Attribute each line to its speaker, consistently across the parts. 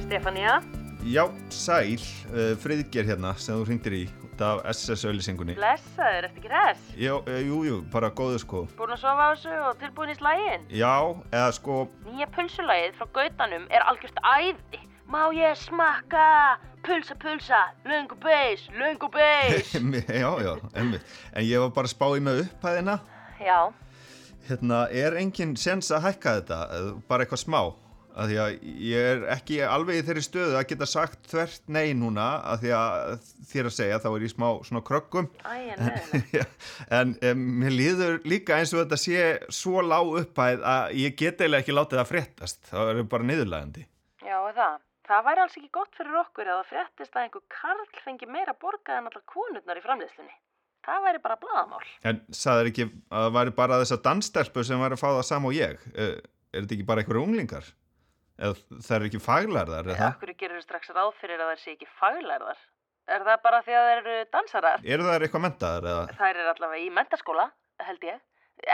Speaker 1: Stefania
Speaker 2: Já, sæl, uh, friðger hérna sem þú hringdir í út af SS-auðlýsingunni.
Speaker 1: Blessaður, ertu ekki res?
Speaker 2: Já, uh, jú, jú, bara góðu sko.
Speaker 1: Búin að sofa á þessu og tilbúin í slægin?
Speaker 2: Já, eða sko,
Speaker 1: Nýja pulsulagið frá gautanum er algjört æði. Má ég smakka? Pulsa, pulsa, löngu beis, löngu beis.
Speaker 2: já, já, einmitt. En ég var bara að spá í með upphæðina.
Speaker 1: Já,
Speaker 2: Hérna, er engin sens að hækka þetta, eh, bara eitthvað smá? Af því að ég er ekki alveg í þeirri stöðu að geta sagt þvert nei núna, af því að þér að segja þá er ég smá svona krökkum.
Speaker 1: æja, neðan.
Speaker 2: Já, en um, mér líður líka eins og þetta sé svo lág upphæð að ég get eiginlega ekki látið að fréttast. Það eru bara niðurlægandi.
Speaker 1: Já, er það. Það væri alls ekki gott fyrir okkur að það fréttist að einhver karl fengi meira borgað en allar konurnar í framleiðslunni. Það væri bara blaðamál.
Speaker 2: En sagður ekki að það væri bara þessa dansstelpu sem væri að fá það sama og ég? Eh, Er þetta ekki bara einhverju unglingar? Eða það eru ekki faglærðar, er það?
Speaker 1: Akkur gerur strax ráð fyrir að þær sé ekki faglærðar. Er það bara því að þær eru dansarar?
Speaker 2: Eru það eitthvað mentaðar eða?
Speaker 1: Þær eru allavega í mentaskóla, held ég.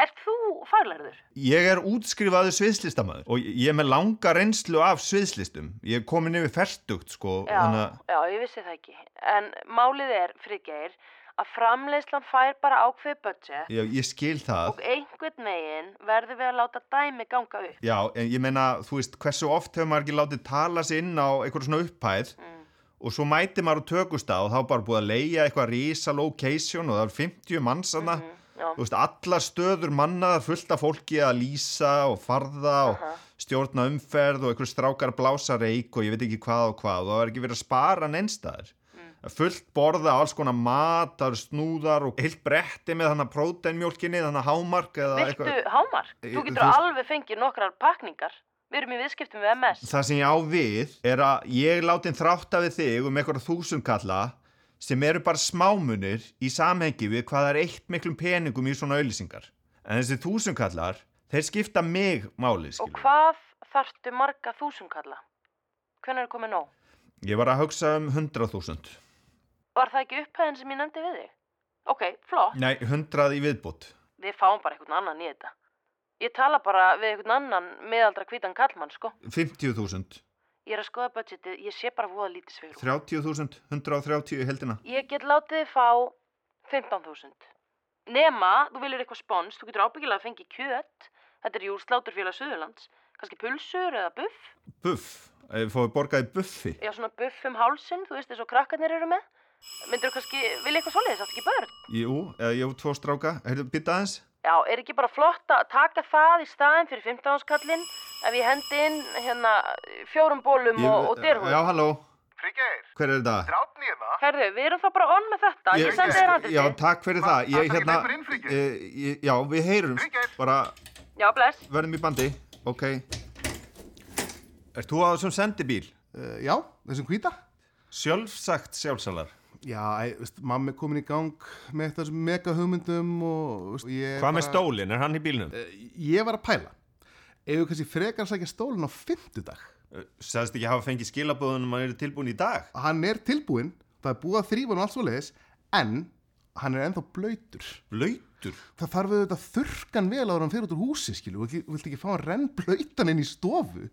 Speaker 1: Ert þú faglærður?
Speaker 2: Ég er útskrifaður sviðslistamæður og ég er með langa reynslu af sviðslistum. Ég er komin yfir fertugt, sko.
Speaker 1: Já,
Speaker 2: þannig að-
Speaker 1: já, ég vissi það ekki. En málið er, Friðgeir, að framleiðslan fær bara ákveðið budget
Speaker 2: Já, ég skil það.
Speaker 1: og einhvern veginn verður við að láta dæmi ganga upp.
Speaker 2: Já, en ég meina, þú veist, hversu oft hefur maður ekki látið tala sig inn á eitthvað svona upphæð
Speaker 1: Mhm,
Speaker 2: og svo mæti maður á tökustaf og þá er bara búið að leia eitthvað risa location og það er 50 manns hana.
Speaker 1: já.
Speaker 2: Þú veist, allar stöður mannaðar fullt af fólki að lýsa og farða og stjórna umferð og einhverju strákar blása reik og ég veit ekki hvað og hvað og það er ekki verið að spara neinstæðar. Mm. Fullt borða, alls konar mat, það eru snúðar og heilt bretti með þannig próteinmjólkinni, þannig hámark eða
Speaker 1: Viltu
Speaker 2: eitthvað.
Speaker 1: hámark?
Speaker 2: Ég-
Speaker 1: Þú getur
Speaker 2: þú veist-
Speaker 1: alveg fengið nokkrar pakningar. Við erum í viðskiptum við MS.
Speaker 2: Það sem ég á við er að ég látin þrátta við þig um eitthvað þúsundkalla sem eru bara smámunir í samhengi við hvað það er eitt miklum peningum í svona auðlýsingar. En þessi þúsundkallar, þeir skipta mig máli,
Speaker 1: Og
Speaker 2: skilur.
Speaker 1: hvað þarftu marga þúsundkalla? Hvernig er komið nóg?
Speaker 2: Ég var að hugsa um 100.000.
Speaker 1: Var það ekki upphæðin sem ég nefndi við þig? Ok, flott.
Speaker 2: Nei, 100 í viðbútt.
Speaker 1: Við fáum bara einhvern annan í þetta. Ég tala bara við einhvern annan meðaldra hvítan kallmann, sko.
Speaker 2: 50.000,
Speaker 1: Ég er að skoða budgetið, ég sé bara voða lítið sveigrum.
Speaker 2: 30.000, 130 í heldina.
Speaker 1: Ég get látið þið fá 15.000. Nema, þú viljur eitthvað spons, þú getur ábyggilega að fengi kjöt. Þetta er jú sláturfélag Suðurlands. Kannski pulsur eða buff.
Speaker 2: Buff, Eh, ef fóðu borgaði buffi.
Speaker 1: Já, svona buff um hálsin, þú veist eins og krakkarnir eru með. Myndur þú kannski, vilja eitthvað svoleiðis, átt ekki börn?
Speaker 2: Jú, eða ég á tvo stráka, heyrðu, býta aðeins.
Speaker 1: Já, er ekki bara flott að taka það í staðin fyrir 15 áskallin ef ég hendi inn hérna fjórum bólum og, og dyrhúð?
Speaker 2: Já, halló,
Speaker 3: Frigeir,
Speaker 2: hver er þetta?
Speaker 3: drátn ég það?
Speaker 1: Herðu, við erum þá bara onn með þetta, ég, sendi þér handið
Speaker 2: Já, takk fyrir það. Ég,
Speaker 3: Vantar ekki
Speaker 2: hérna,
Speaker 3: leifur inn, Friggi?
Speaker 2: eh, ég, já, við heyrumst.
Speaker 3: Friggi?
Speaker 2: Bara
Speaker 1: Já, bless.
Speaker 2: verðum í bandi. Ok. Ert þú á þessum sendibíl?
Speaker 4: Uh, já, þessum hvíta.
Speaker 2: Sjálfsagt sjálfsalar.
Speaker 4: Já, æ, veist, mamma er komin í gang með þetta þessum mega hugmyndum og veist, ég...
Speaker 2: Hvað með stólinn? Er hann í bílnum?
Speaker 4: Ég var að pæla. Ef við kannski frekar að sækja stólinn á fymtudag.
Speaker 2: Sæðist Eh, ekki hafa fengið skilabóðunum að hann eru tilbúin í dag?
Speaker 4: Hann er tilbúinn, það er búið að þrýfa hann og allt svo leiðis, en hann er ennþá blöytur.
Speaker 2: Blöytur.
Speaker 4: Það þarf auðvitað að þurrkan vel ára hann fyrir út úr húsi, skilu, og ekki- viltu ekki fá hann renn blöytan inn í stofu.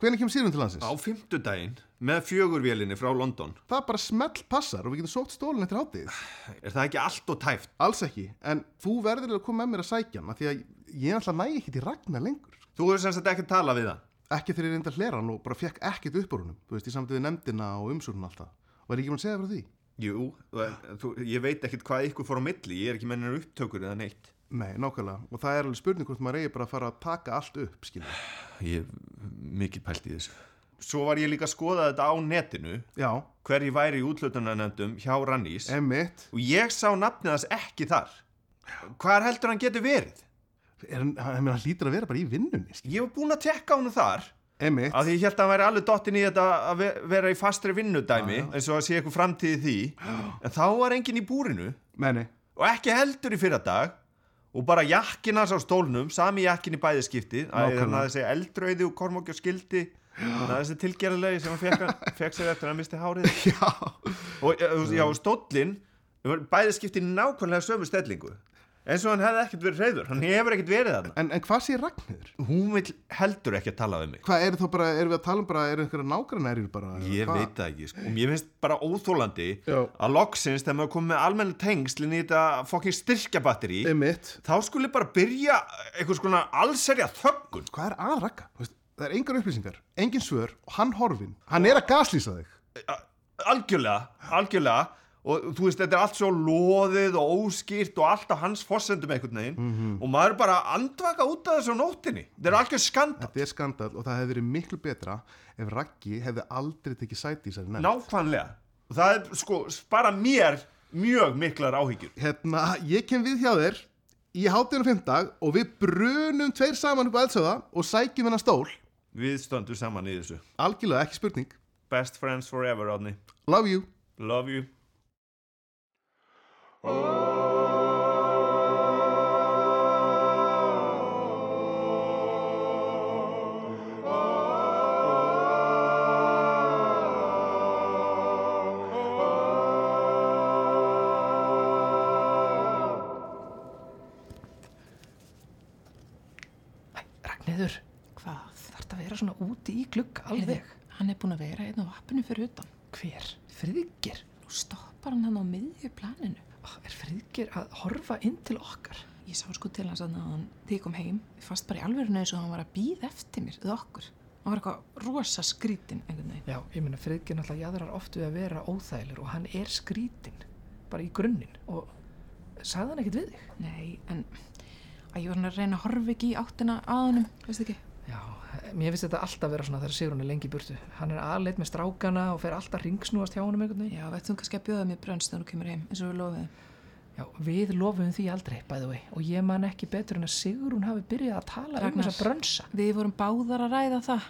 Speaker 4: Hvernig kemur síðan til hansins?
Speaker 2: Á fymtudaginn með fjögurvélinni frá London.
Speaker 4: Það bara smell passar og við getum sótt stólinn eftir hátíð.
Speaker 2: Er það ekki allt og tæft?
Speaker 4: Alls ekki, en þú verður að koma með mér að sækja hann, af því að ég alltaf næ ekki til Ragnar lengur.
Speaker 2: Þú hefur sem sagt ekki talað við hann.
Speaker 4: Ekki þegar ég reyndi að hlera hann og bara fekk ekkert upp úr húnum, þú veist, ég samt við nefndina og umsúrun alltaf. Var ég ekki mann að segja frá því?
Speaker 2: Jú, þú- þú, ég veit ekkit hvað ykkur fór á milli. Ég er ekki mennir upptökur eða neitt.
Speaker 4: Nei, nákvæmlega, og það er alveg spurning hvort maður eigi bara að fara að taka allt upp, skilja.
Speaker 2: Ég hef mikið pælt í þessu. Svo var ég líka að skoða þetta á netinu,
Speaker 4: Já,
Speaker 2: hverji væri í útlutunarnefndum hjá Rannís.
Speaker 4: emmitt,
Speaker 2: Og ég sá nafnið hans ekki þar. Hvar heldur hann getur verið?
Speaker 4: er hann, hann, hann lítur að vera bara í vinnunni, skilja.
Speaker 2: Ég var búinn að tekka hann þar.
Speaker 4: Emmitt,
Speaker 2: Af því ég held að hann væri alveg dottinn í þetta að ve- vera í fastri vinnudæmi, eins og að sé eitthvað framtíði því. En þá var enginn í búrinu
Speaker 4: menni,
Speaker 2: og ekki heldur í fyrradag og bara jakkin hans á stólnum, sami jakkin í bæðiskipti. Það er
Speaker 4: Nákvæmlega.
Speaker 2: hann að þessi eldröði og kormokja skildi. Það er þessi tilgerðarlegi sem hann fekk, fekk sér eftir að hann misti hárið. eh,
Speaker 4: já,
Speaker 2: og já, já, og stóllinn bæði skipti nákvæmlega sömu stellingu eins og hann hefði ekkert verið reyður hann hefur ekkert verið þarna
Speaker 4: en, en hvað sé Ragnhildur?
Speaker 2: hún vil heldur ekki að tala við mig
Speaker 4: Hvað er þá bara, erum við að tala um bara, eru einhverja nágrannærir bara? eða
Speaker 2: ég
Speaker 4: hvað?
Speaker 2: veit það ekki sko. og mér finnst bara óþólandi
Speaker 4: Já.
Speaker 2: að loksins þegar maður komið með almenn tengsl inn í þetta fokkin styrkjabatteri
Speaker 4: Einmitt.
Speaker 2: þá skulle bara byrja einhvers konar allserja þöggun
Speaker 4: Hvað er að Ragga? Þú veist, Það er engar upplýsingar, engin svör og hann horfin. Hann er að gaslýsa þig.
Speaker 2: algjörlega, algjörlega og þú veist, þetta er allt svo loðið og óskýrt og allt á hans forsendum einhvern veginn og maður er bara að andvaka út af þessu á nóttinni, þetta er algjör skanda
Speaker 4: Þetta er skandal og það hefði verið miklu betra ef Raggi hefði aldrei tekið sæti í særi nefn.
Speaker 2: nákvæmlega og það er sko, bara mér mjög miklar áhyggjur
Speaker 4: Hérna, ég kem við hjá þér í hátinn og fimmdag og við brunum tveir saman upp á eldsöða og sækjum hennar stól.
Speaker 2: við stöndum saman í þessu
Speaker 4: Algjörlega, ekki spurning.
Speaker 2: best friends forever, Rodney
Speaker 4: Love you.
Speaker 2: love you
Speaker 3: Ragnhildur,
Speaker 5: Hvað?
Speaker 3: þarf það að vera svona úti í glugg alveg?
Speaker 5: Alveg. Hann er búinn að vera einn á vappinu fyrir utan.
Speaker 3: Hver? Friðgir?
Speaker 5: Nú stoppar hann hann á miðju planinu.
Speaker 3: Ah, Er Friðgir að horfa inn til okkar?
Speaker 5: Ég sá sko til hans að hann þegar ég kom heim, ég fannst bara í alvörinu eins og hann var að býða eftir mér, eða okkur. Hann var eitthvað rosa skrítin einhvern veginn.
Speaker 3: Já, ég meina Friðgir náttúrulega jæðrar oft við að vera óþægilegur og hann er skrítinn, bara í grunninn og sagði hann ekkert við þig?
Speaker 5: Nei, en að ég var hann að reyna að horfa ekki í áttina að honum, veist ekki?
Speaker 3: Já, mér finnst þetta alltaf vera svona þegar Sigrun er lengi í burtu. Hann er aðleitt með strákana og fer alltaf ringsnúast hjá honum einhvern veginn.
Speaker 5: Já, veit þú kannski að bjóða mér brönst þegar þú kemur heim, eins og við lofið.
Speaker 3: Já, við lofum því aldrei, by the way, og ég man ekki betur en að Sigrun hafi byrjað að tala um
Speaker 5: Ragnar.
Speaker 3: þess að brönsa.
Speaker 5: Við vorum báðar að ræða það.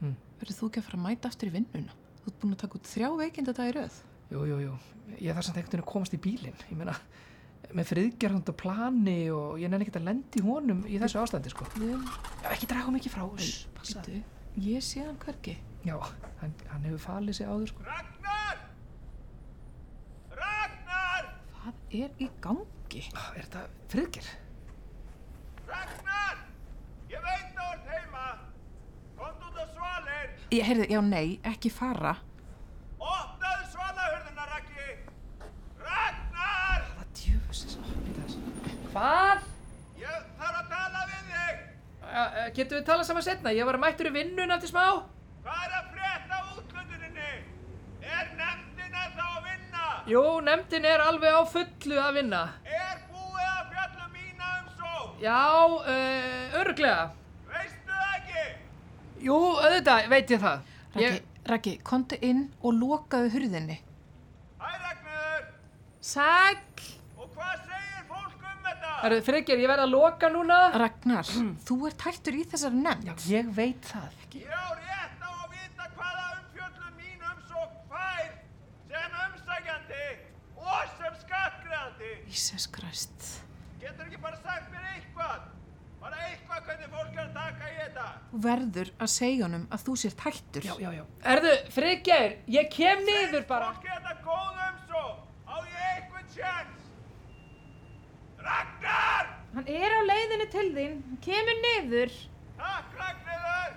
Speaker 3: Mm.
Speaker 5: Verður þú ekki að fara að mæta aftur í vinnuna? Þú ert búin að taka út þrjá veikinda í röð.
Speaker 3: Jú, jú, jú, ég þarf samt einhvern veginn að komast í bílinn, ég meina, með friðgerðand og plani og ég nenni ekkert að lendi honum í þessu ástandi, sko.
Speaker 5: Við,
Speaker 3: Já, ekki draga mig ekki frá, uss, passa.
Speaker 5: býttu, ég sé hann hvergi.
Speaker 3: Já, hann, hann hefur falið sig áður, sko.
Speaker 2: Ragnar! Ragnar!
Speaker 5: Hvað er í gangi?
Speaker 3: Ah, Er þetta friðgerð?
Speaker 2: Ragnar! Ég veit að þú ert heima! Komt út á svalinn!
Speaker 5: Ég heyrði, já nei, ekki fara.
Speaker 2: Opnaðu svalahörðuna, Raggi! Ragnar!
Speaker 3: Hvað djöfusins opnir þess?
Speaker 2: Ég þarf að tala við þig!
Speaker 3: eh, Getum við talað saman setna? Ég var mættur í vinnun eftir smá.
Speaker 2: Hvað er að frétta af útlönduninni? Er nefndin að þá að vinna?
Speaker 3: Jú, nefndin er alveg á fullu að vinna.
Speaker 2: Er búið að fjalla mína um svo?
Speaker 3: Já, uh, örglega.
Speaker 2: Veistu það ekki?
Speaker 3: Jú, auðvitað, veit ég það.
Speaker 5: Raggi, Raggi, komdu inn og lokaðu hurðinni.
Speaker 2: Hæ, Ragnar!
Speaker 5: Sæk!
Speaker 2: Og hvað segir fólk um þetta?
Speaker 3: Herru, Friðger, ég verð að loka núna.
Speaker 5: Ragnar, þú ert hættur í þessari nefnd.
Speaker 3: Ég veit það.
Speaker 2: Ég á rétt á að vita hvaða umfjöllum mín umsók fær sem umsækjandi og sem skattgreðandi.
Speaker 5: Jesus Christ.
Speaker 2: Getur ekki bara sagt mér eitthvað? Bara eitthvað hvernig fólk er að taka í þetta?
Speaker 5: Þú verður að segja honum að þú sért hættur.
Speaker 3: Já, já, já. Herru, Friðger, ég kem niður bara.
Speaker 2: Fólk er þetta góð umsók. Á ég eitthvað tjens? Ragnar!
Speaker 6: Hann er á leiðinu til þín, hann kemur niður.
Speaker 2: Takk, Ragnarður!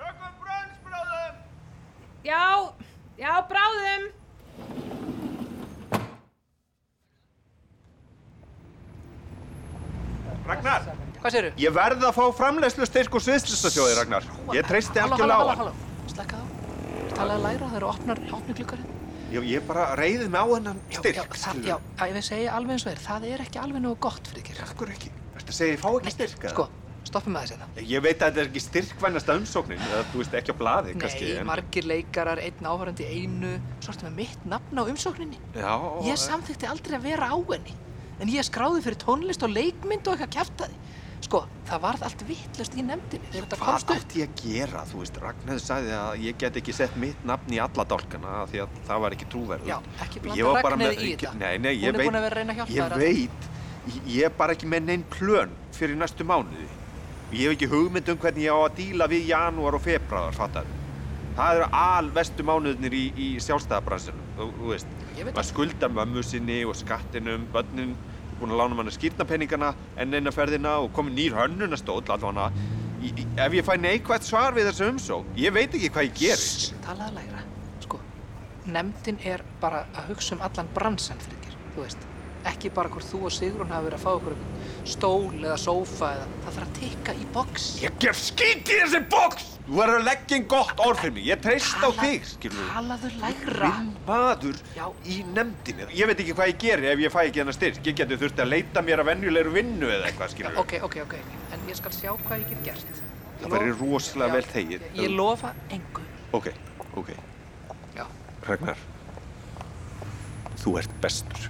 Speaker 2: Tökum brönnsbróðum!
Speaker 6: Já, já, bráðum.
Speaker 2: Ragnar!
Speaker 3: Hvað séru?
Speaker 2: Ég verð að fá framleiðslu styrk og sviðslistasjóði, Ragnar. Ég treysti algjörlega á hann.
Speaker 3: Halló, halló, slakka á. Talaðu læra, það eru opnar, opni glukkarinn.
Speaker 2: Ég, ég bara reyðið mig á hennan
Speaker 3: Já,
Speaker 2: styrk.
Speaker 3: já, það, já, að ég vil segja alveg eins og er, það er ekki alveg nógu gott, Friðger.
Speaker 2: Akkur ekki. Þetta segir ég fá ekki styrk, eða?
Speaker 3: Sko, stoppum hérna. með þessi það.
Speaker 2: Ég, ég veit að þetta er ekki styrkvænasta umsóknin, eða þú veist ekki á blaði, kannski.
Speaker 3: Nei, margir leikarar, einn áhverjandi einu, svo ertu með mitt nafn á umsókninni.
Speaker 2: Já,
Speaker 3: Ég samþykti aldrei að vera á henni, en ég skráði fyrir tónlist og leikmynd og eitthvað kjæftaði. Sko, það varð allt vittlust í nefndinni þegar þetta
Speaker 2: Hvað
Speaker 3: komst upp.
Speaker 2: átti ég að gera? Þú veist, Ragnar sagði að ég get ekki sett mitt nafn í alla dálkana af því að það var ekki trúverður.
Speaker 3: Já, ekki
Speaker 2: Ég var
Speaker 3: blanda
Speaker 2: bara
Speaker 3: Ragnarði
Speaker 2: með-
Speaker 3: í
Speaker 2: ég-
Speaker 3: þetta.
Speaker 2: nei, nei, ég
Speaker 3: Hún er
Speaker 2: veit-
Speaker 3: búin að vera að reyna að hjálpa
Speaker 2: Ég
Speaker 3: þér að-
Speaker 2: veit, ég- ég er bara ekki með neinn plön fyrir næstu mánuði. Ég hef ekki hugmynd um hvernig ég á að díla við janúar og februar, fattar. Það eru alvestu mánuðnir í, í sjálfstæðabransunum, þú, þú veist.
Speaker 3: Ég veit
Speaker 2: Maður skuldar mömmu sinni og skattinum, börnin búin að lána manni skýrnapenningana enn eina ferðina og komið nýr hönnunastóll allavega Í- í- ef ég fæ neikvægt svar við þessu umsók ég veit ekki hvað ég gerir
Speaker 3: Talaðu lægra. Sko, nefndin er bara að hugsa um allan bransan fyrir þér, þú veist. Ekki bara hvort þú og Sigrun hafa verið að fá okkur einhvern stól eða sófa eða það þarf að tikka í boks.
Speaker 2: ég ger skýt í þessi boks þú verður að leggja inn gott orð fyrir mig ég treyst á
Speaker 3: Tala-
Speaker 2: þig skilur
Speaker 3: Talaðu lægra.
Speaker 2: minn maður
Speaker 3: Já.
Speaker 2: í nefndinni ég veit ekki hvað ég gerir ef ég fæ ekki hennar styrk ég getur þurfti að leita mér að venjulegur vinnu eða eitthvað
Speaker 3: Já,
Speaker 2: skilur
Speaker 3: ok, ok, ok, en ég skal sjá hvað ég get gert.
Speaker 2: Það væri rosalega
Speaker 3: Já,
Speaker 2: vel þegið.
Speaker 3: Ég, ég lofa engu.
Speaker 2: ok, ok,
Speaker 3: Já,
Speaker 2: Ragnar þú ert bestur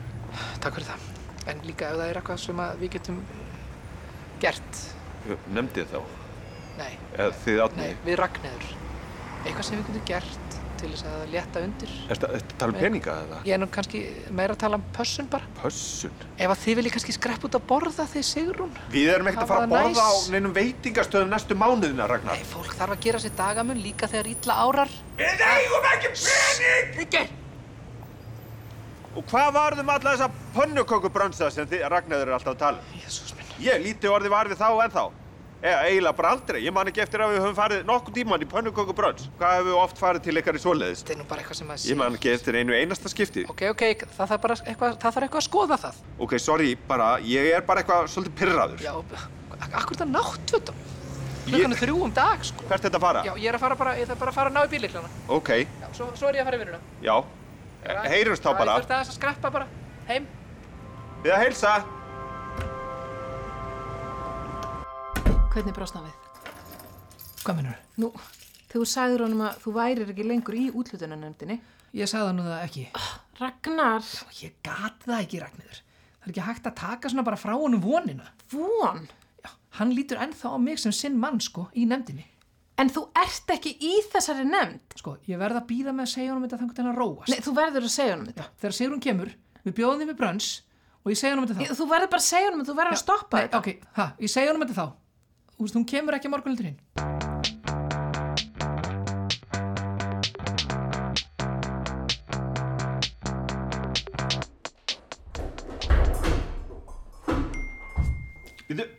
Speaker 3: takk fyrir það. En líka ef það er eitthvað sem að við getum gert.
Speaker 2: nefndið þá
Speaker 3: Nei,
Speaker 2: eða þið
Speaker 3: nei,
Speaker 2: átni
Speaker 3: við ragnæður. Eitthvað sem við getum gert til þess að létta undir.
Speaker 2: Ertu ertu að tala um peninga eða?
Speaker 3: Ég er nú kannski meira að tala um pössun bara.
Speaker 2: Pössun?
Speaker 3: Ef að þið viljið kannski skrepp út að borða þið Sigrún.
Speaker 2: Við erum ekkert að fara að
Speaker 3: Það var
Speaker 2: borða á
Speaker 3: næs.
Speaker 2: neinum veitingastöðum næstu mánuðina, Ragnar.
Speaker 3: Nei, fólk þarf að gera sér dagamun líka þegar illa árar.
Speaker 2: Við eigum ekki pening!
Speaker 3: Ekki!
Speaker 2: Og hvað varðum alla þessa pönnukökubransa sem þið, Ragnar, eru alltaf að tala um?
Speaker 3: Jésús minn.
Speaker 2: Ég lítið orðið var við þá en þá. Eða eiginlega bara aldrei. Ég man ekki eftir að við höfum farið nokkuð tíman í pönnukökubrans. Hvað hefur við oft farið til ykkar í svoleiðis?
Speaker 3: Þetta er nú bara eitthvað sem að
Speaker 2: Ég man ekki eftir einu einasta skipti.
Speaker 3: Ok, ok, það þarf bara eitthvað, það þarf eitthvað að skoða það.
Speaker 2: Ok, sorry, bara, ég er bara eitthvað svolítið pyrraður.
Speaker 3: Já, akkur það náttfötum. Klukkan er þrjú um dag, sko.
Speaker 2: Hvert þetta fara?
Speaker 3: Já, ég er að fara bara, ég þarf bara að fara að ná í bíliklana.
Speaker 2: Ok,
Speaker 3: Já, svo, svo er ég að fara í vinnuna.
Speaker 2: já. Eh, Heyrumst þá bara.
Speaker 3: Ég þurfti aðeins að skreppa bara heim.
Speaker 2: Við að heilsa.
Speaker 5: Hvernig brást hann við?
Speaker 3: Hvað minnur?
Speaker 5: Nú, þegar þú sagður honum að þú værir ekki lengur í útlutunanemndinni.
Speaker 3: Ég sagði nú það ekki.
Speaker 5: Ragnar,
Speaker 3: Ég gat það ekki, Ragnir. Það er ekki hægt að taka svona bara frá honum vonina.
Speaker 5: von,
Speaker 3: Já, hann lítur ennþá á mig sem sinn mann, sko, í nefndinni.
Speaker 5: en þú ert ekki í þessari nefnd.
Speaker 3: Sko, ég verð að býða með að segja honum þetta þangur til hann róast.
Speaker 5: Nei, þú verður að segja honum
Speaker 3: Já,
Speaker 5: þetta.
Speaker 3: þegar Sigrun kemur, við bjóðum þið með brans og ég segja honum þetta þá.
Speaker 5: Ég- Þú verður bara að segja honum að þú verður að stoppa
Speaker 3: Nei,
Speaker 5: þetta.
Speaker 3: ok, ha, ég segja honum þetta þá. Þú veist, hún kemur ekki morgunildur hinn.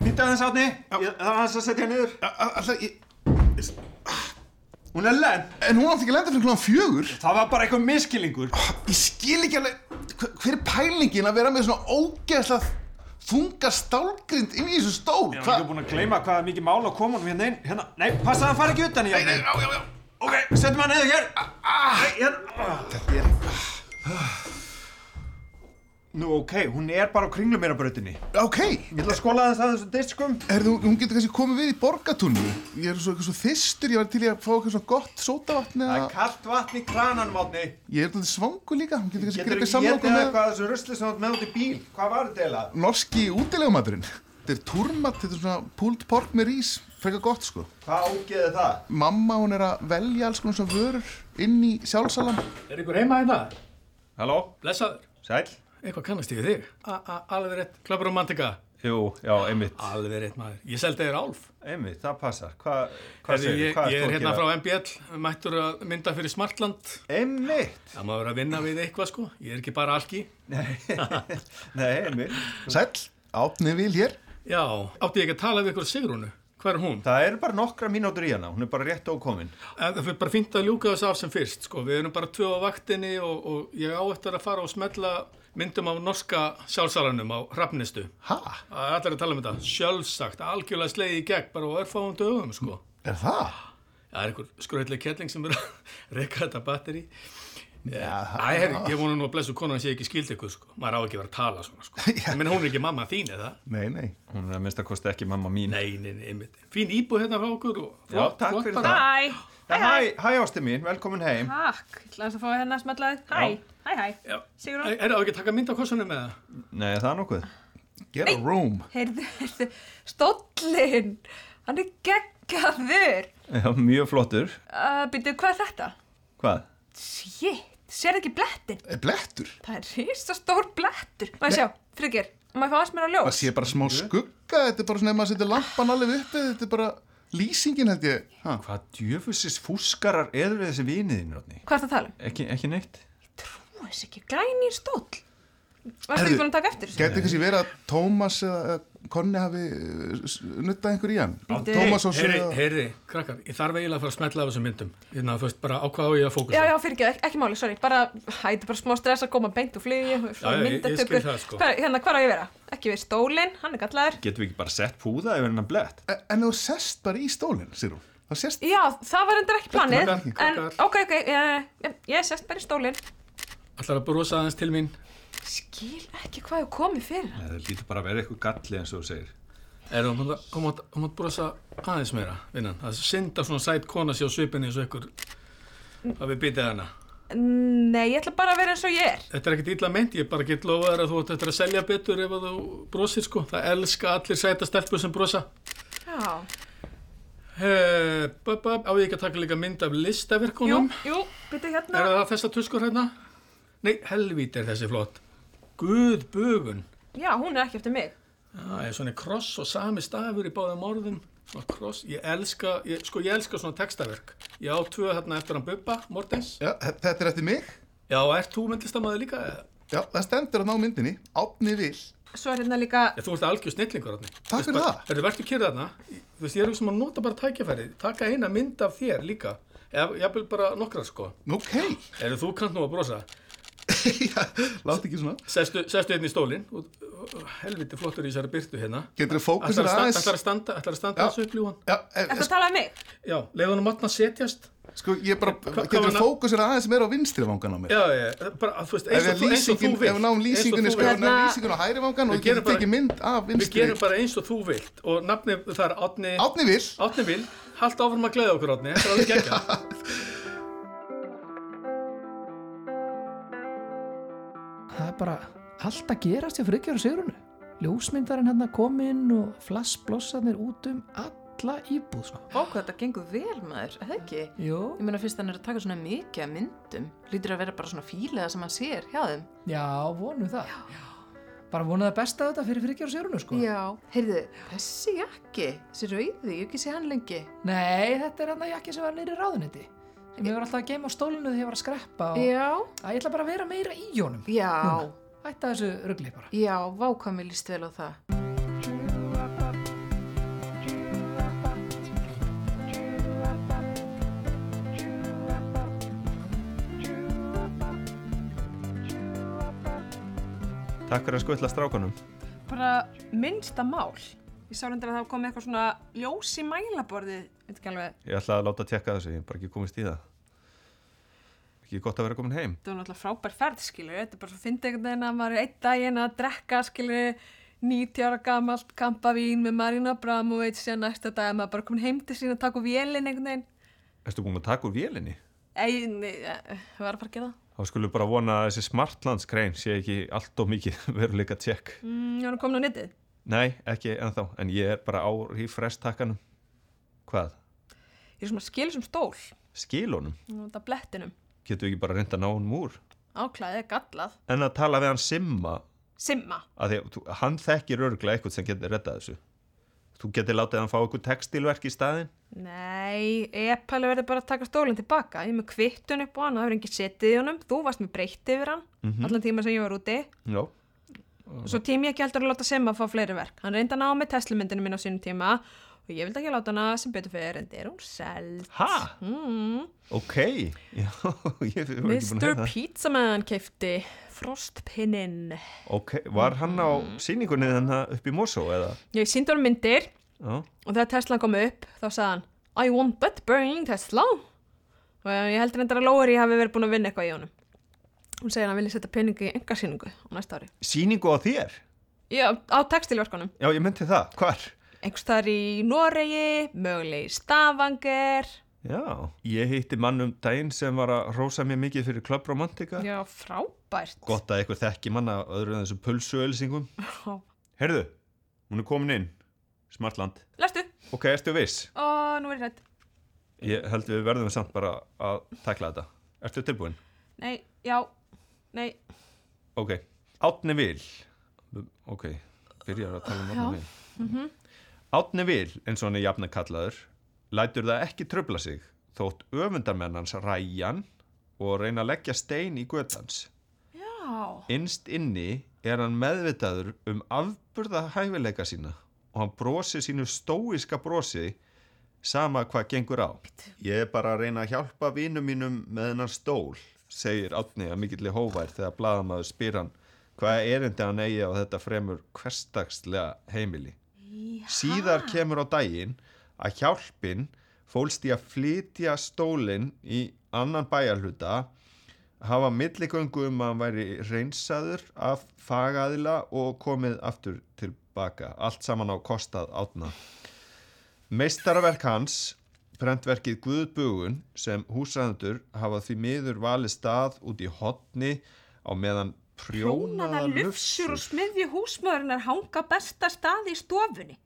Speaker 2: Býta aðeins átni, það er aðeins að setja niður.
Speaker 4: A- a- Alltaf, ég,
Speaker 2: Hún er lent.
Speaker 4: en hún átti ekki að lenda fyrir klúan fjögur.
Speaker 2: Það var bara eitthvað miskilingur.
Speaker 4: Ég skil ekki alveg, hver- hver er pælingin að vera með svona ógeðslega þunga stálgrind inn í þessu stól?
Speaker 2: Ég var
Speaker 4: Hvað-
Speaker 2: ekki búin að gleyma hvað er mikið mál að koma honum hérna inn. Hérna, nei, passa að hann fari ekki utan í
Speaker 4: Nei,
Speaker 2: hérna.
Speaker 4: já, já, já.
Speaker 2: Ok, setjum hann niður hér. Nei, hérna. Þetta er... Nú, ok, hún er bara á kringlum meira brautinni. Ég
Speaker 4: Ok,
Speaker 2: ætla að skóla aðeins að þessum diskum.
Speaker 4: Herðu, hún getur kannski komið við í borgatúnu. Ég er svo eitthvað svo þyrstur, ég var til í að fá eitthvað svona gott sótavatn
Speaker 2: Það er
Speaker 4: eða...
Speaker 2: kallt vatn í krananum átni.
Speaker 4: Ég er alltaf svangu líka, hún getur kannski
Speaker 2: Getur
Speaker 4: greipið
Speaker 2: ekki getið
Speaker 4: samlokum með
Speaker 2: eitthvað af þessu rusli sem þú átt með út í bíl. Hvað var þetta eiginlega?
Speaker 4: norski útilegumadurinn. Þetta er túrmat, þetta er svona pulled pork með rís, frekar gott sko.
Speaker 2: Hvað ágeði það?
Speaker 4: Mamma hún er að velja alls konar svona vörur inn í sjálfsalan.
Speaker 7: Er ykkur heima hérna?
Speaker 2: Halló?
Speaker 7: Blessaður.
Speaker 2: Sæl?
Speaker 7: Eitthvað kannast ég við þig. A- a- Alveg rétt. Klöpur romantika.
Speaker 2: Jú, já, einmitt.
Speaker 7: Alveg rétt maður. Ég seldi þér álf.
Speaker 2: Einmitt, það passar. Hvað hva
Speaker 7: Herðu,
Speaker 2: segir
Speaker 7: ég,
Speaker 2: Hvað
Speaker 7: ég
Speaker 2: þú
Speaker 7: er
Speaker 2: að
Speaker 7: hérna
Speaker 2: gera?
Speaker 7: frá MBL, mættur að mynda fyrir Smartland.
Speaker 2: Einmitt.
Speaker 7: Það maður vera að vinna við eitthvað sko. Ég er ekki bara alki.
Speaker 2: Nei, einmitt.
Speaker 4: Sæll, átnið vil hér.
Speaker 7: Já, átti ég ekki að tala við ykkur Sigrúnu. Hvað er hún?
Speaker 2: Það eru bara nokkra mínútur í hana, hún er bara rétt ókomin.
Speaker 7: En Það fyrir bara fínt að ljúka þessu af sem fyrst sko. Við erum bara tvö á vaktinni og, og ég á eftir að fara og smella myndum af norska sjálfsalanum á Hrafnistu.
Speaker 4: Ha,
Speaker 7: Það er allir að tala um þetta. Sjálfsagt, algjörlega slegið í gegn bara á örfáum dögum sko.
Speaker 4: er það?
Speaker 7: Það er einhver skröðlega kettling sem er að reyka þetta batteri. Æ, herri, ég vona nú að blessu konan sé ekki skild ykkur, sko. Maður á ekki að vera að tala svona, sko.
Speaker 4: Já.
Speaker 7: Ég menn, hún er ekki mamma þín, eða?
Speaker 4: Nei, nei.
Speaker 2: Hún er að minnst að kosti ekki mamma mín.
Speaker 7: Nei, nei, nei, einmitt. Fín íbúð hérna frá okkur og
Speaker 2: Já, takk fyrir
Speaker 7: bara.
Speaker 2: það.
Speaker 6: Hæ,
Speaker 2: Hæ, hæ, hæ ástu mín, velkomin heim.
Speaker 6: takk. Ég ætla aðeins að fá hérna smetlaði. Hæ, hæ, hæ.
Speaker 7: Já.
Speaker 6: Sigrún?
Speaker 7: Æ, Er það ekki að taka mynd á kossunum með það?
Speaker 2: Nei, það er nokkuð.
Speaker 4: Get a room.
Speaker 8: Heyrðu, heyrðu, stóllinn, hann er geggjaður.
Speaker 2: Já, mjög flottur.
Speaker 8: Uh, Býtu, hvað er þetta?
Speaker 2: Hvað?
Speaker 8: Shit, sér ekki blettin?
Speaker 4: Er blettur?
Speaker 8: Það er risastór blettur. Má ég sjá, frigir, má ég fá aðeins mér að
Speaker 4: Það
Speaker 8: ljós?
Speaker 4: sé bara smá skugga, þetta er bara svona ef maður setur lampan alveg uppið, þetta er bara lýsingin held ég. Ha.
Speaker 2: Hvað djöfusis fúskarar eður þessi viniðin, Rótni?
Speaker 8: Hvað er það að tala um?
Speaker 2: Ekki, ekki neitt.
Speaker 8: Þú veist ekki, glænýr stóll. Varstu
Speaker 4: Herðu.
Speaker 8: ekki búin að taka eftir þessu?
Speaker 4: Gæti kannski verið að Tómas eða eða Konni hafi eh, s- nuttað einhver í hann?
Speaker 8: Bíddu.
Speaker 4: Tómas og
Speaker 7: Heyri,
Speaker 4: svo...
Speaker 7: heyri, krakkar, ég þarf eiginlega að fara að smetla af þessum myndum. Þannig að þú veist, bara á hvað á ég að fókusa.
Speaker 8: Já, já, fyrir ekki, ekki máli, sorry, bara, hæ, þetta er bara smá stress að koma beint úr flugi,
Speaker 7: Já, já, ég- ég
Speaker 8: myndatökur.
Speaker 7: skil það, sko.
Speaker 8: Hvar- Hérna, hvar á ég að vera? Ekki við stólinn, hann er gallaður.
Speaker 2: Getum við ekki bara sett púða yfir hennan blett?
Speaker 4: En- En þú sest bara í stólinn, Sigrún. Það sest...
Speaker 8: Já, það var endur ekki planið,
Speaker 7: Krakkar,
Speaker 8: en,
Speaker 7: krakkar.
Speaker 8: ok, ok,
Speaker 5: eh,
Speaker 8: ég, ég, ég sest bara í stólinn.
Speaker 7: Ætlar að brosa aðeins til mín.
Speaker 8: Skil ekki hvað ég komið fyrir.
Speaker 2: Það lítur bara að vera eitthvað galli eins og þú segir.
Speaker 7: Er hún að, hún að, hún að brosa aðeins meira, vinnan? Það er synd að svona sætt kona sé á svipinni eins og ykkur að við býtið hana.
Speaker 8: Nei, ég ætla bara að vera eins og ég er.
Speaker 7: Þetta er ekkert illa meint, ég bara get lofað þér að þú átt eftir að selja betur ef að þú brosir sko. Það elska allir sæta stelpur sem brosa.
Speaker 8: Já,
Speaker 7: He, bub, bub, á ég ekki að taka líka mynd af
Speaker 8: jú,
Speaker 7: listaverkunum?
Speaker 8: jú, byrja hérna.
Speaker 7: Er það þessa tuskur hérna? Nei, helvíti er þessi flott. Guð bugun.
Speaker 8: Já, hún er ekki eftir mig.
Speaker 7: Það er svona kross og sami stafur í báðum orðum. Svona kross, ég elska, ég, sko ég elska svona textaverk. Ég á tvö hérna eftir hann Bubba, Mortens.
Speaker 4: Já, þe- þetta er eftir mig.
Speaker 7: Já, ert þú myndlistamæður líka? eða?
Speaker 4: Já, það stendur að ná myndinni. Átni vill.
Speaker 8: Svo er hérna líka,
Speaker 7: Já, þú ert algjör snillingur hérna.
Speaker 4: Takk fyrir það.
Speaker 7: Ertu verður kyrrið hérna? Þú veist, ég er ekki sem að nota bara tækjafærið. Taka eina mynd af þér líka. Ef, jafnvel bara nokkrar sko.
Speaker 4: Ok.
Speaker 7: Eru þú kannt nú að brosa?
Speaker 4: Já, láti ekki svona.
Speaker 7: Sestu, sestu hérna í stólinn. og- og- og Helviti flottur í þessari byrtu hérna.
Speaker 4: Getur þú
Speaker 7: Ætlar
Speaker 4: fókusir
Speaker 7: að,
Speaker 4: aðeins?
Speaker 7: ætlar að standa, ætlar að standa
Speaker 4: Já.
Speaker 7: þessu upp ljúan?
Speaker 4: Já, er,
Speaker 8: þetta talaði um mig.
Speaker 7: Já, leiðu hann að matna setjast.
Speaker 4: sko, ég bara...
Speaker 7: Hva- hvað
Speaker 4: Getur
Speaker 7: var
Speaker 4: þú
Speaker 7: na-
Speaker 4: fókusir aðeins meira á vinstri vangan á mér?
Speaker 7: Já, já, já, bara, þú veist,
Speaker 4: Ef
Speaker 7: eins og,
Speaker 4: við
Speaker 7: þú, eins og þú
Speaker 4: lýsingin,
Speaker 7: vilt.
Speaker 4: ef við náum
Speaker 7: Eins og þú
Speaker 4: lýsingunni, sko, ef
Speaker 7: vilt.
Speaker 4: við
Speaker 8: Hérna-
Speaker 4: náum lýsingunni á hæri
Speaker 7: Við
Speaker 4: vangan og
Speaker 7: gerum
Speaker 4: getum
Speaker 7: bara-
Speaker 4: tekið mynd af
Speaker 7: Við
Speaker 4: vinstri.
Speaker 7: gerum bara eins og þú vilt og nafnið það er Átni,
Speaker 4: Átni vill.
Speaker 7: Átni Vil, haldt áfram að gleða okkur Átni, þetta er alveg geggjað.
Speaker 3: það er bara allt að gerast hjá Friggjar og Sigrunu ljósmyndarinn hann kom inn og flassblossarnir út um alla íbúð sko.
Speaker 5: Ó, hvað þetta gengur vel maður, eða ekki?
Speaker 3: Jó,
Speaker 5: Ég meina fyrst hann er að taka svona mikið af myndum, lítur að vera bara svona fílega sem hann sér hjá þeim.
Speaker 3: já, vonum það bara vonum það besta þetta fyrir Friggjar og Sigrunu sko.
Speaker 5: Já, heyrðu, þessi jakki, þessi rauði, ég hef ekki sé hann lengi.
Speaker 3: Nei, þetta er hann að jakki sem var nýri ráðuniti sem ég var alltaf að geima á stólinu þegar ég var að skreppa og
Speaker 5: Já,
Speaker 3: að ég ætla bara að vera meira í honum
Speaker 5: já,
Speaker 3: Núna. Ætta þessu rugli bara
Speaker 5: já, vákvæmi líst vel á það.
Speaker 2: Takk fyrir að skutla strákanum.
Speaker 8: Bara minnsta mál. Ég sá hendur að það komið eitthvað svona ljós í mælaborðið, veit ekki alveg,
Speaker 2: Ég ætlaði að láta tekka þessu, ég hef bara ekki komist í það. Ekki gott að vera komin heim.
Speaker 8: þetta var náttúrulega frábær ferð, skilur, þetta er bara svo fyndið einhvern veginn að maður er einn daginn að drekka, skilur, 90 ára gamalt kampavín með Marina Abramovic síðan næsta dag að maður bara komin heim til sín að taka vélinn einhvern veginn.
Speaker 2: Erstu búin að taka úr vélinni?
Speaker 8: Ei, nei, eh, við varum bara að gera það.
Speaker 2: Þá skulum við bara vona að þessi smartlandskrein sé ekki allt og mikið veruleika tjekk.
Speaker 8: Mm, ég var að komin á netið.
Speaker 2: Nei, ekki ennþá, en ég er bara á í frestakkanum. Hvað?
Speaker 8: Ég er svona að skilja sem stól,
Speaker 2: Skilunum?
Speaker 8: þetta blettinum.
Speaker 2: Getum við ekki bara reynda að ná honum úr?
Speaker 8: Áklæðið er gallað.
Speaker 2: En að tala við hann Simma,
Speaker 8: Simma.
Speaker 2: að því að þú- hann þekkir örglega eitthvað sem getur reddað þessu. Þú getur látið hann fá eitthvað textilverk í staðinn.
Speaker 8: Nei, Epali verður bara að taka stólinn tilbaka. Ég er með kvittun upp á hann, það verður engin setið í honum. Þú varst með breytt yfir hann, allan tíma sem ég var úti.
Speaker 2: Já.
Speaker 8: Og svo tími ég ekki heldur að láta Simma fá fleiri verk. Hann reyndi að ná með Tesla-myndinu mín á sínum tíma og ég vildi ekki láta hana sem betur fyrir en er hún seld.
Speaker 2: Ha?
Speaker 8: Mm.
Speaker 2: Ok. Já, ég hef ekki búin að
Speaker 8: Mr.
Speaker 2: hefða.
Speaker 8: Pizzaman keifti Frostpinnin.
Speaker 2: Ok, var hann á
Speaker 8: Mm.
Speaker 2: síningunni þannig upp í Mosó eða?
Speaker 8: Ég síndi hann myndir
Speaker 2: Já.
Speaker 8: og þegar Tesla kom upp þá sagði hann I want that burning Tesla og ég heldur endur að Lóri hafi verið búin að vinna eitthvað í honum hún segir að hann vilja setja peningi í engasýningu á næsta ári
Speaker 2: Síningu á þér?
Speaker 8: Já, á textilverkunum
Speaker 2: Já, ég myndi það. Hvar?
Speaker 8: einhvers þar í Noregi, mögulegi í Stavanger
Speaker 2: Já. Ég hitti mann um daginn sem var að rósa mér mikið fyrir Club Romantica.
Speaker 8: Já, frábært
Speaker 2: Gott að ykkur þekki manna öðru en þessum pulsuölsingum.
Speaker 8: Já.
Speaker 2: Herðu, hún er komin inn. Smartland.
Speaker 8: Lestu,
Speaker 2: Ok, ertu viss?
Speaker 8: og nú er ég hrætt
Speaker 2: Ég held við verðum samt bara að tækla þetta. Ertu tilbúin?
Speaker 8: Nei, já, nei
Speaker 2: Ok. Átni Vil. Ok, byrjar að tala um Átni Vil. Átni Vil, eins og hann er jafna kallaður, lætur það ekki tröfla sig þótt öfundarmenn hans ræjan og reyna að leggja stein í göttans.
Speaker 8: Já,
Speaker 2: Innst inni er hann meðvitaður um afburða hæfileika sína og hann brosir sínu stóiska brosi sama hvað gengur á. Ég er bara að reyna að hjálpa vinum mínum með hennar stól, segir Átni að mikilli hóvær þegar bladamaður spyr hann hvað erindi hann eigi á þetta fremur hverstagslega heimili. Síðar kemur á daginn að hjálpin fólst í að flytja stólinn í annan bæjarhluta hafa milligöngu um að hann væri reynsaður af fagaðila og komið aftur tilbaka. Allt saman á kostað átna. Meistarverk hans, prentverkið Guðbugun sem húsræðendur hafa því miður valið stað út í hotni á meðan prjónaða
Speaker 6: Prjónaða lufsur og smiðju húsmaðurinnar hanga á besta staði í stofunni.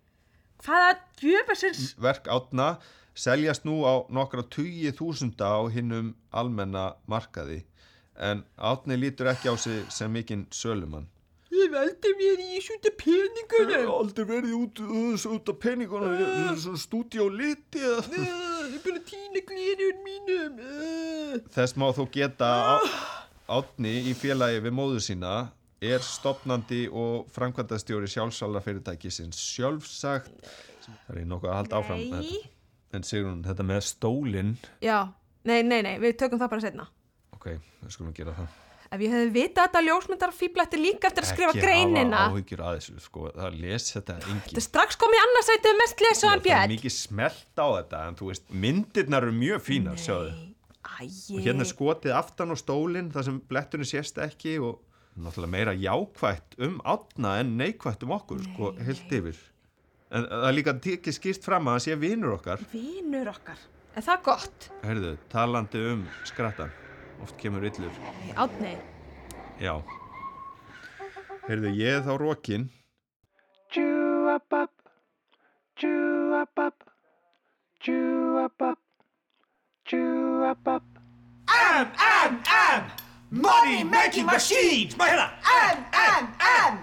Speaker 6: Hvaða djöfasins...
Speaker 2: verk átna seljast nú á nokkra tugi þúsunda á hinnum almenna markaði en átni lítur ekki á sig sem mikinn sölumann.
Speaker 6: Ég veldi mér í sjúta peningunum.
Speaker 2: aldrei verið út, út, út á peninguna, svona stúdíó liti eða...
Speaker 6: Ég er búin að týna glirjun mínum. Uh.
Speaker 2: Þess má þú geta að Átni í félagi við móður sína er stopnandi og framkvæmdastjóri sjálfsalafyrirtækisins sjálfsagt Það er ég nokkuð að halda áfram með
Speaker 6: Nei.
Speaker 2: þetta En Sigrun, þetta með stólinn
Speaker 6: Já, nei, nei, nei, við tökum það bara setna.
Speaker 2: Ok, við skulum gera það
Speaker 6: Ef ég hefði vitað þetta ljósmyndar fýblætti líka eftir að skrifa
Speaker 2: Ekki
Speaker 6: greinina.
Speaker 2: hafa áhyggjur að þessu, sko Það les þetta
Speaker 6: Þetta
Speaker 2: engin
Speaker 6: er strax komið í annarsætið mest lesaðan
Speaker 2: Það er
Speaker 6: björn.
Speaker 2: mikið smelt á þetta En þú veist, myndirnar eru mjög fínar, sjáðu
Speaker 6: Æi,
Speaker 2: Og hérna er skotið aftan á stólinn þar sem blettunni sést ekki og náttúrulega meira jákvætt um átna en neikvætt um okkur, sko, heilt yfir. En það er líka tekið skýrt fram að það sé vinur okkar.
Speaker 6: vinur okkar. Er það gott?
Speaker 2: Herðu, talandi um skrattan, oft kemur yllur,
Speaker 6: Átnei.
Speaker 2: já. Herðu, ég er þá rokin,
Speaker 9: Chewabop, chewabop, chewabop, chewabop.
Speaker 10: Money making machines! Bara hérna! Am, am, am!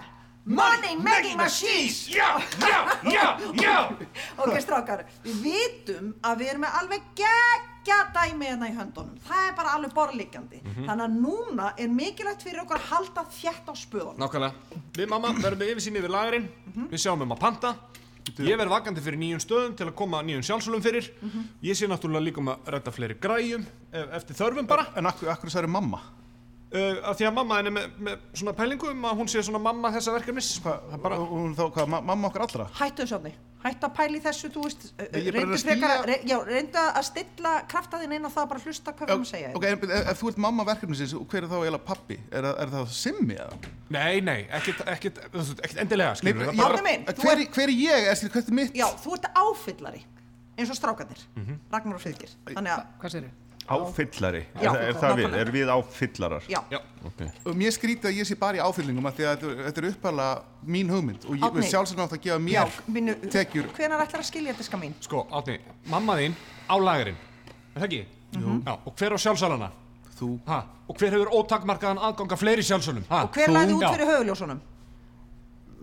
Speaker 10: Money making machines! Já, já, já, já!
Speaker 11: Ok, strákar, við vitum að við erum með alveg geggja dæmi hérna í höndunum. Það er bara alveg borlíkjandi.
Speaker 10: Mhm.
Speaker 11: Þannig að núna er mikilvægt fyrir okkur að halda þjætt á spöðunum.
Speaker 12: Nákvæmlega. Við mamma verðum með yfirsýn yfir lagarinn, við sjáum um að panta, ég verð vakandi fyrir nýjum stöðum til að koma nýjum sjálfsölum fyrir, ég sé náttúrulega líka um að redda fleiri græjum, ef- eftir þörfum bara. En akkur, akkur særi mamma? Uh, af því að mamma henni með, með svona pælingu um að hún sé svona mamma þessa verkefnis. Hvað, bara... Hún þá, hvað, mamma okkar allra?
Speaker 11: Hættu þessu afni. Hættu að pæli þessu, þú veist, uh,
Speaker 4: Ég er bara
Speaker 11: reyndu
Speaker 4: að
Speaker 11: frekar að,
Speaker 4: skilja-
Speaker 11: re, já, reyndu að stilla krafta þín inn á það og bara hlusta hvað við erum að segja. hérna.
Speaker 4: Ok, en, ef, ef þú ert mamma verkefnisins, hver er þá eiginlega pappi? Er, það- er það simmi eða?
Speaker 12: Nei, nei, ekkert, ekkert, þú veist, ekkert endilega, skilur
Speaker 4: Nei,
Speaker 12: það
Speaker 11: Árni minn, þú
Speaker 4: hver, hver er ég? Er, skilur, hvert er mitt?
Speaker 11: Já, þú ert áfyllari, eins og strákarnir, Ragnar og Friðgir. Þannig að...
Speaker 3: Hvað segir
Speaker 2: áfyllari.
Speaker 11: Já,
Speaker 2: er, er það við?
Speaker 11: nákvæmlega.
Speaker 2: Er við áfyllarar?
Speaker 11: Já.
Speaker 12: Já.
Speaker 2: Ok.
Speaker 4: Og mér skrítið að ég sé bara í áfyllingum af því að þetta- þetta er uppalega mín hugmynd og ég
Speaker 11: Árni.
Speaker 4: sjálfsagt átt að gefa
Speaker 11: Já,
Speaker 4: mér
Speaker 11: minu,
Speaker 4: tekjur.
Speaker 11: hvenar ætlar að skilja diska mín?
Speaker 12: Sko, Átni, mamma þín á lagarinn, er það ekki? Jú. Já, og hver á sjálfsölana?
Speaker 4: Þú.
Speaker 12: Ha, og hver hefur ótakmarkaðan aðgang að fleiri sjálfsölum? Ha?
Speaker 11: Og hver lagði út fyrir höfuljósunum?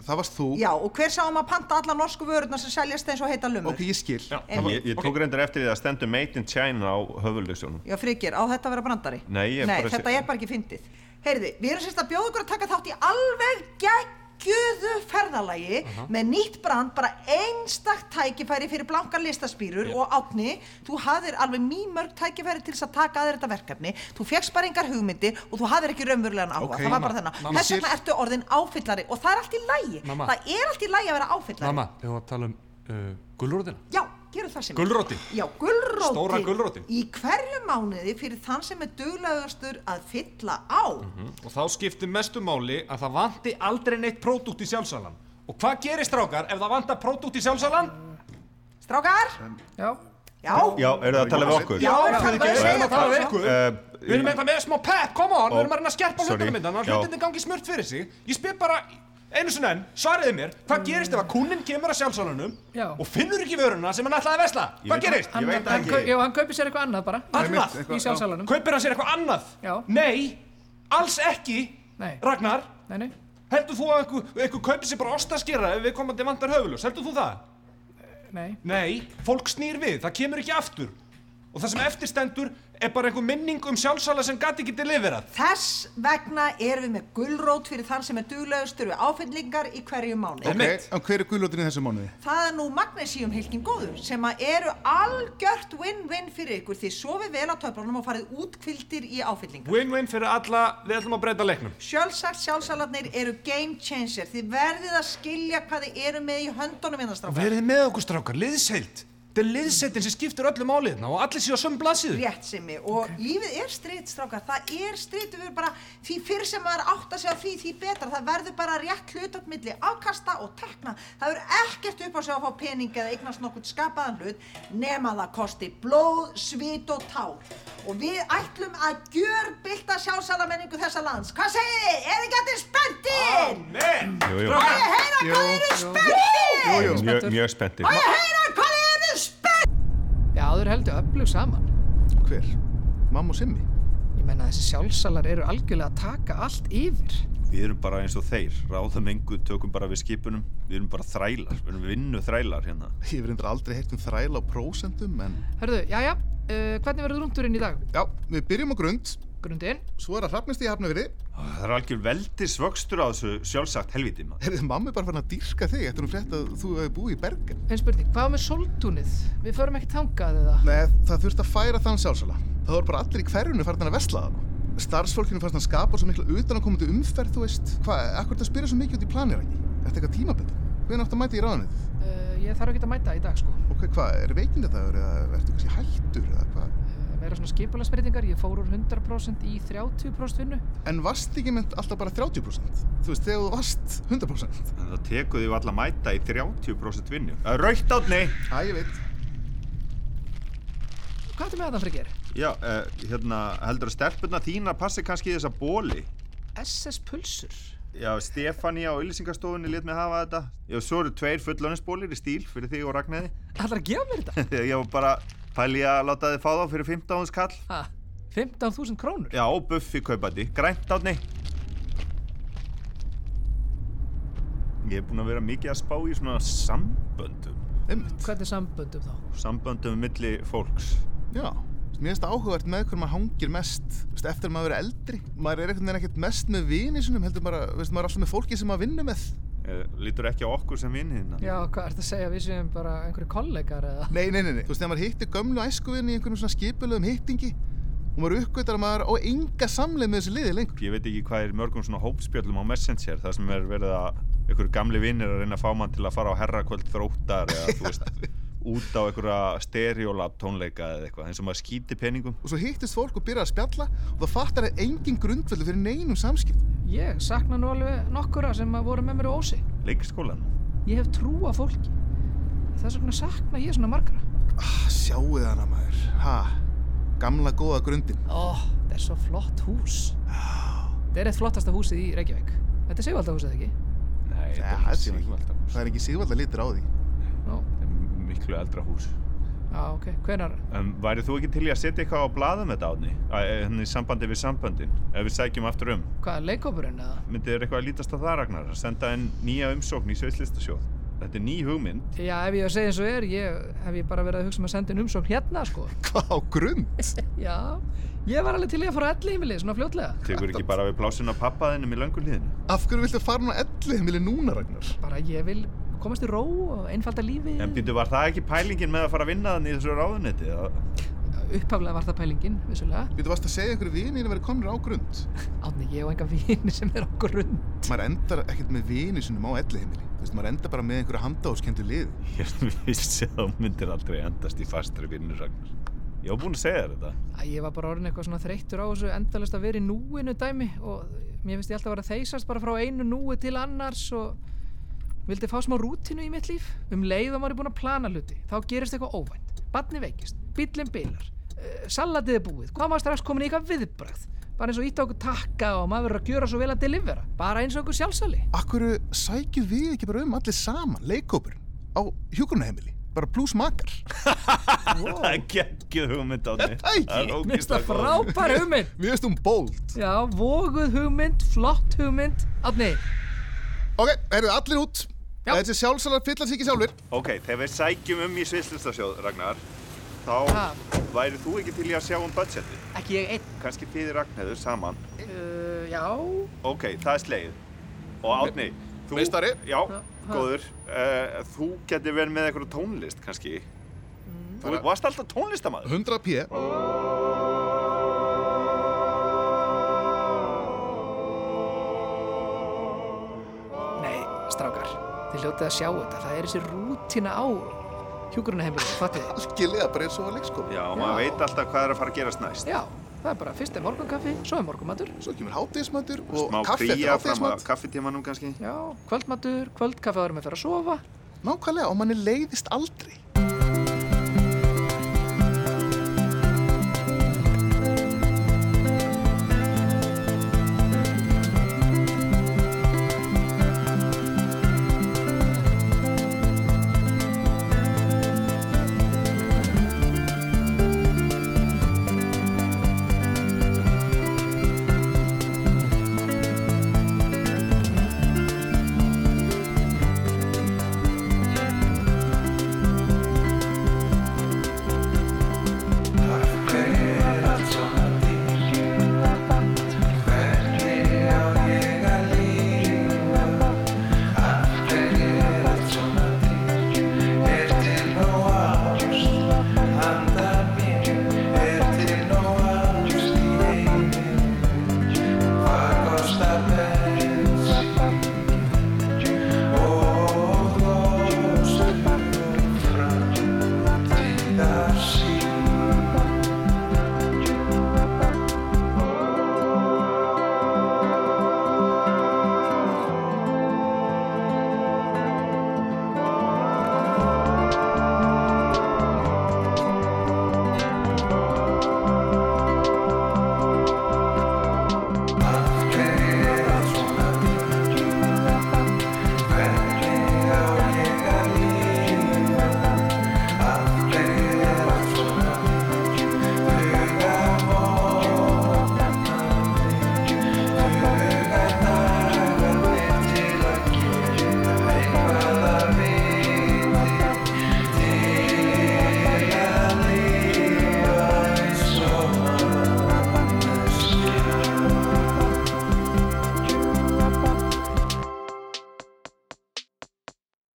Speaker 4: Það varst þú.
Speaker 11: Já, og hver sá um að panta alla norsku vörurnar sem seljast eins og heita lumur?
Speaker 4: Ok, ég skil.
Speaker 12: Já,
Speaker 11: það var-
Speaker 2: Ég, ég tók reyndar eftir því að stendur Made in China á höfurlöksunum.
Speaker 11: Já, Frigir, á þetta að vera brandari?
Speaker 2: Nei, ég er bara að
Speaker 11: þetta
Speaker 2: segja-
Speaker 11: er bara ekki fyndið. Heyrði, við erum sérst að bjóða ykkur að taka þátt í alveg geggjuðu ferðalagi með nýtt brand, bara einstakt tækifæri fyrir blankar listaspýrur og átni, þú hafðir alveg mýmörg tækifæri til þess að taka að þér þetta verkefni, þú fegst bara engar hugmyndir og þú hafðir ekki raunverulegan áhuga,
Speaker 12: Ok,
Speaker 11: það var bara
Speaker 12: mamma,
Speaker 11: þennan.
Speaker 12: mamma,
Speaker 11: Þess vegna
Speaker 12: skil.
Speaker 11: ertu orðin áfyllari og það er allt í lægi,
Speaker 12: Mamma.
Speaker 11: það er allt í lægi að vera áfyllari.
Speaker 12: Mamma, við varum að tala um uh, gulrótina.
Speaker 11: Já, gerum það sem
Speaker 12: Gulrótin.
Speaker 11: Já, gulrótin.
Speaker 12: Stóra gulrótin.
Speaker 11: Í hverju mánuði fyrir þann sem er duglegastur að fylla á.
Speaker 12: Mhm, Og þá skiptir mestu máli að það vanti aldrei neitt pródúkt í sjálfsalan. Og hvað gerir strákar ef það vantar pródúkt í sjálfsalan?
Speaker 11: Strákar?
Speaker 3: Já.
Speaker 11: Já.
Speaker 2: Já, eru það að tala við
Speaker 12: Já,
Speaker 2: okkur?
Speaker 11: Já,
Speaker 12: við erum að
Speaker 11: Friðgeir. sko.
Speaker 12: segja það. Við erum að tala við
Speaker 2: Eh,
Speaker 12: ykkur. Við erum eitthvað með smá pep, come on,
Speaker 2: Ó,
Speaker 12: við erum að reyna að skerpa
Speaker 2: sorry.
Speaker 12: hlutunum hérna, myndan,
Speaker 2: Já.
Speaker 12: hlutunum gangi smurt fyrir sig. Ég spyr bara, einu sinna enn, svariði mér, hvað gerist ef að kúninn kemur að sjálfsalanum
Speaker 3: Já.
Speaker 12: og finnur ekki vöruna sem hann ætlaði að vesla?
Speaker 2: Ég
Speaker 12: Hvað
Speaker 2: veit-
Speaker 12: gerist?
Speaker 2: ég veit það
Speaker 3: hann,
Speaker 2: ekki.
Speaker 3: kau- já, hann kaupir sér eitthvað annað bara.
Speaker 12: Annað?
Speaker 3: Í sjálfsalanum.
Speaker 12: Kaupir hann sér eitthvað annað?
Speaker 3: Já.
Speaker 12: Nei, alls ekki,
Speaker 3: Nei,
Speaker 12: Ragnar.
Speaker 3: nei, nei.
Speaker 12: Heldur þú að einhver, einhver kaupir sér bara ostaskera ef við komandi vantar höfuljós? Heldur þú það?
Speaker 3: nei.
Speaker 12: Nei, fólk snýr við, það kemur ekki aftur. Og og það sem eftirstendur er bara einhver minning um sjálfsala sem gati ekki deliverað.
Speaker 11: Þess vegna erum við með gullrót fyrir þann sem er duglegastur við áfendlingar í hverju mánu.
Speaker 4: En hver er gulótin í þessu mánuði?
Speaker 11: Það er nú magnesíum hilkin góður sem að eru algjört win-win fyrir ykkur því sofið vel á töflunum og farið útkvildir í áfyllingar.
Speaker 12: Win-win fyrir alla, við ætlum að breyta leiknum.
Speaker 11: Sjálfsagt sjálfsalarnir eru game changer því verðið að skilja hvað þið eru með í höndunum innan
Speaker 12: Og
Speaker 11: strákar.
Speaker 12: verið með okkur strákar, liðseild. Þetta er liðseildin sem skiptir öllu máliðna og allir séu á sömu blaðsíðu.
Speaker 11: Rétt sem ég og lífið er strit strákar, það er strit við erum bara því fyrr sem maður átt að segja því því betra það verður bara rétt hlutat milli afkasta og tekna, það verður ekkert upp á sig að fá pening eða eignast nokkurt skapaðan hlut nema það kosti blóð, svit og tár og við ætlum að gjör bylta sjálfsalamenningu þessa lands, hvað segið þið? Er ekki allir spenntir?
Speaker 12: Amen!
Speaker 2: Jú, jú.
Speaker 11: Má ég heyra
Speaker 2: Jú,
Speaker 11: hvað þið eru
Speaker 2: jú.
Speaker 11: spenntir?
Speaker 2: Ég er Mjög, mjög spenntir.
Speaker 11: Má ég heyra hvað þið eru spenntir?
Speaker 3: Já, þau eru heldur öflug saman.
Speaker 4: Hver? Mamma og Simmi?
Speaker 3: Ég menna þessi sjálfsalar eru algjörlega að taka allt yfir.
Speaker 2: Við erum bara eins og þeir, ráðum engu, tökum bara við skipunum, við erum bara þrælar, við erum vinnu þrælar hérna.
Speaker 4: Ég verður aldrei heyrt um þræla á prósentum, en
Speaker 3: Hörðu, jæja, uh, hvernig verður rúndurinn í dag?
Speaker 4: já, við byrjum á grund.
Speaker 3: Grundin?
Speaker 4: Svo er að hrafnist í hafnafyrði.
Speaker 2: Það er algjör veldis vöxtur á þessu sjálfsagt helviti maður.
Speaker 4: Herðið, mamma er bara fann að dýrka þig eftir hún frétt að þú hefur búið í Bergen.
Speaker 3: En spurning, hvað með sóltúnið? Við förum ekkert þangað eða?
Speaker 4: Nei, það þurfti að færa þann sjálfsala. Það voru bara allir í hverjunu farin að vesla það. Starfsfólkinu fannst að skapa svo mikla utanakomandi umferð, þú veist. Hvað, akkur það spyrir svo mikið út í planir ekki? Er þetta eitthvað tímabætt? Hvernig áttu að mæta í ráðanið?
Speaker 3: Uh, ég þarf ekki að mæta í dag, sko.
Speaker 4: Ok, hvað, er veikindi dagur eða ertu kannski hættur eða hvað?
Speaker 3: Uh, meira svona skipulagsbreytingar, ég fór úr 100% í 30% vinnu.
Speaker 4: En varst ekki mynd alltaf bara 30%? Þú veist, þegar þú varst 100%?
Speaker 2: En það tekur því alla mæta í 30% vinnu. Eh, Það er raukt átni!
Speaker 4: Æ, ég veit.
Speaker 3: Hvað ertu með þetta, Frigger?
Speaker 2: Já, uh, hérna, heldur að stelpurna þína passi kannski í þessa bóli?
Speaker 3: SS Pulsur?
Speaker 2: Já, Stefania á Ylýsingastofunni let mig hafa þetta. Já, svo eru tveir fullónisbólir í stíl fyrir þig og Ragnæði.
Speaker 3: Ætlar að gefa mér þetta?
Speaker 2: Ég var bara pæli að láta þið fá þá fyrir 15 hans kall.
Speaker 3: Ha, 15.000 krónur?
Speaker 2: Já, og Buffy kaupandi. Grænt átni. Ég er búinn að vera mikið að spá í svona samböndum.
Speaker 4: Einmitt.
Speaker 3: Hvernig samböndum þá?
Speaker 2: Samböndum milli fólks.
Speaker 4: Já, mér finnst áhugavert með hver maður hangir mest veist, eftir að maður er eldri. Maður er einhvern veginn ekkert mest með vini sinum, heldur bara, veist, maður er alltaf með fólki sem maður vinnur með.
Speaker 2: Eh, Lítur ekki á okkur sem vinni hérna.
Speaker 3: Já, hvað ertu að segja, við séum bara einhverju kollegar eða?
Speaker 4: Nei, nei, nei, nei. Þú veist, þegar maður hittir gömlu æskuvinni í einhvernum svona skipulegum hittingi og maður uppgötar að maður á enga samleið með þessu liði lengur.
Speaker 2: Ég veit ekki hvað er í mörgum svona hópspjöllum á Messenger þar sem er verið að einhverju gamli vinnir að reyna að fá mann til að fara á herrakvöld þróttar eða þú veist út á einhverja stereolab tónleika eða eitthvað eins og maður skýti peningum
Speaker 4: Og svo hittist fólk og byrjar að spjalla og það fattar að engin grundveldu fyrir neinum samskipt.
Speaker 3: Ég sakna nú alveg nokkura sem að voru með mér á ósi.
Speaker 2: Leikskólan
Speaker 3: Ég hef trú á fólki. Þess vegna sakna ég svona margra.
Speaker 4: Ah, sjáuð hana maður. Ha, gamla góða grundin.
Speaker 3: Ó, þetta er svo flott hús. Þetta er eitt flottasta húsið í Reykjavík. Þetta er Sigvaldahúsið ekki?
Speaker 2: Nei,
Speaker 4: þetta er ekki sigvalda hús. Það er ekki sigvalda litur á því.
Speaker 3: Nó.
Speaker 2: Miklu eldra hús
Speaker 3: Já, ok. Hvenar?
Speaker 2: um, Væri þú ekki til í að setja eitthvað á blaðum þetta átni? Þannig hérna í sambandi við samböndin ef við sækjum aftur um
Speaker 3: Hvað, leikópurinn eða?
Speaker 2: Myndið er eitthvað að lítast á það Ragnar að senda inn nýja umsókn í Sveitslistasjóð Þetta er ný hugmynd
Speaker 3: Já, ef ég að segja eins og er, ég, hef ég bara verið að hugsa um að senda inn umsókn hérna, sko.
Speaker 4: Hvað á grund?
Speaker 3: Já, ég var alveg til í að fara á elli heimili, svona fljótlega.
Speaker 2: Tekur ekki bara við plásun á pappaðinum í lönguliðinu
Speaker 4: Af hverju viltu fara nú ellið heimili núna, Ragnar?
Speaker 3: Bara ég vil komast í ró og einfalda lífið.
Speaker 2: En býtu, var það ekki pælingin með að fara að vinna þannig í þessu ráðunetti? að-
Speaker 3: Upphaflega var það pælingin, vissulega.
Speaker 4: Býtu, varst að segja einhverju vinir að vera komnir á grund?
Speaker 3: Átni, ég og enga vini sem er á grund.
Speaker 4: Maður endar ekkert með vinir sinum á ellið heimili. Þú veist, maður endar bara með einhverju handahóskendu liði.
Speaker 2: Ég vissi að þú myndir aldrei endast í fastri vinnu, Ragnar. Ég var búinn að segja þér þetta.
Speaker 3: Æ, ég var bara orðin eitthvað svona þreyttur á þessu endalist að vera í núinu dæmi og mér finnst ég alltaf að vera að þeysast bara frá einu núi til annars og vildi fá smá rútinu í mitt líf um leið og maður er búin að plana hluti þá gerist eitthvað óvænt, barni veikist bíllinn bilar, uh, salatið er búið hvað maður strax komin í eitthvað viðbragð bara eins og ítta okkur takka og maður verður að gjöra svo vel að delivera, bara eins og okkur sjálfsali
Speaker 4: Akkur sækjum við ekki bara um allir saman, leikópurinn, á hjúkurnaheimili? Bara pluss makar.
Speaker 2: Það er geggið hugmynd á því.
Speaker 4: Það
Speaker 2: er
Speaker 3: Mér finnst það frábær hugmynd
Speaker 4: Mér finnst hún bold
Speaker 3: Já, voguð hugmynd, flott hugmynd Átni
Speaker 4: Ok, eruðu allir út? Já. Þessi sjálfsalar fyllast ekki sjálfur.
Speaker 2: Ok, þegar við sækjum um í Svislistasjóð, Ragnar, þá
Speaker 3: Ha.
Speaker 2: væri þú ekki til í að sjá um budgeti.
Speaker 3: Ekki ég einn.
Speaker 2: Kanski þið Ragnheður saman.
Speaker 3: Uh, já.
Speaker 2: Ok, það er slegið. Og Átni, þú... Meistari. Já, góður. Uh, þú getur verið með eitthvað tónlist kannski.
Speaker 3: Mm.
Speaker 2: Þú varst alltaf tónlistamæður.
Speaker 4: 100 p.
Speaker 3: Nei, strákar, þið hljótið að sjá þetta. Það er þessi rútina á hjúkurunaheimilinu, fattu þið?
Speaker 4: Algjörlega, bara eins og að leikskóla.
Speaker 2: Já, og maður
Speaker 3: Já.
Speaker 2: veit alltaf hvað er að fara að gerast næst.
Speaker 3: Já, það er bara fyrst er morgunkaffi, svo er morgumatur.
Speaker 4: Svo kemur hátíðismatur og
Speaker 2: Má
Speaker 4: kaffi eftir
Speaker 2: kríja fram
Speaker 4: hátíðismat.
Speaker 2: að kaffetímanum kannski.
Speaker 3: Já. Kvöldmatur, kvöldkaffi áður með fyrir að sofa.
Speaker 4: Nákvæmlega, og manni leiðist aldrei.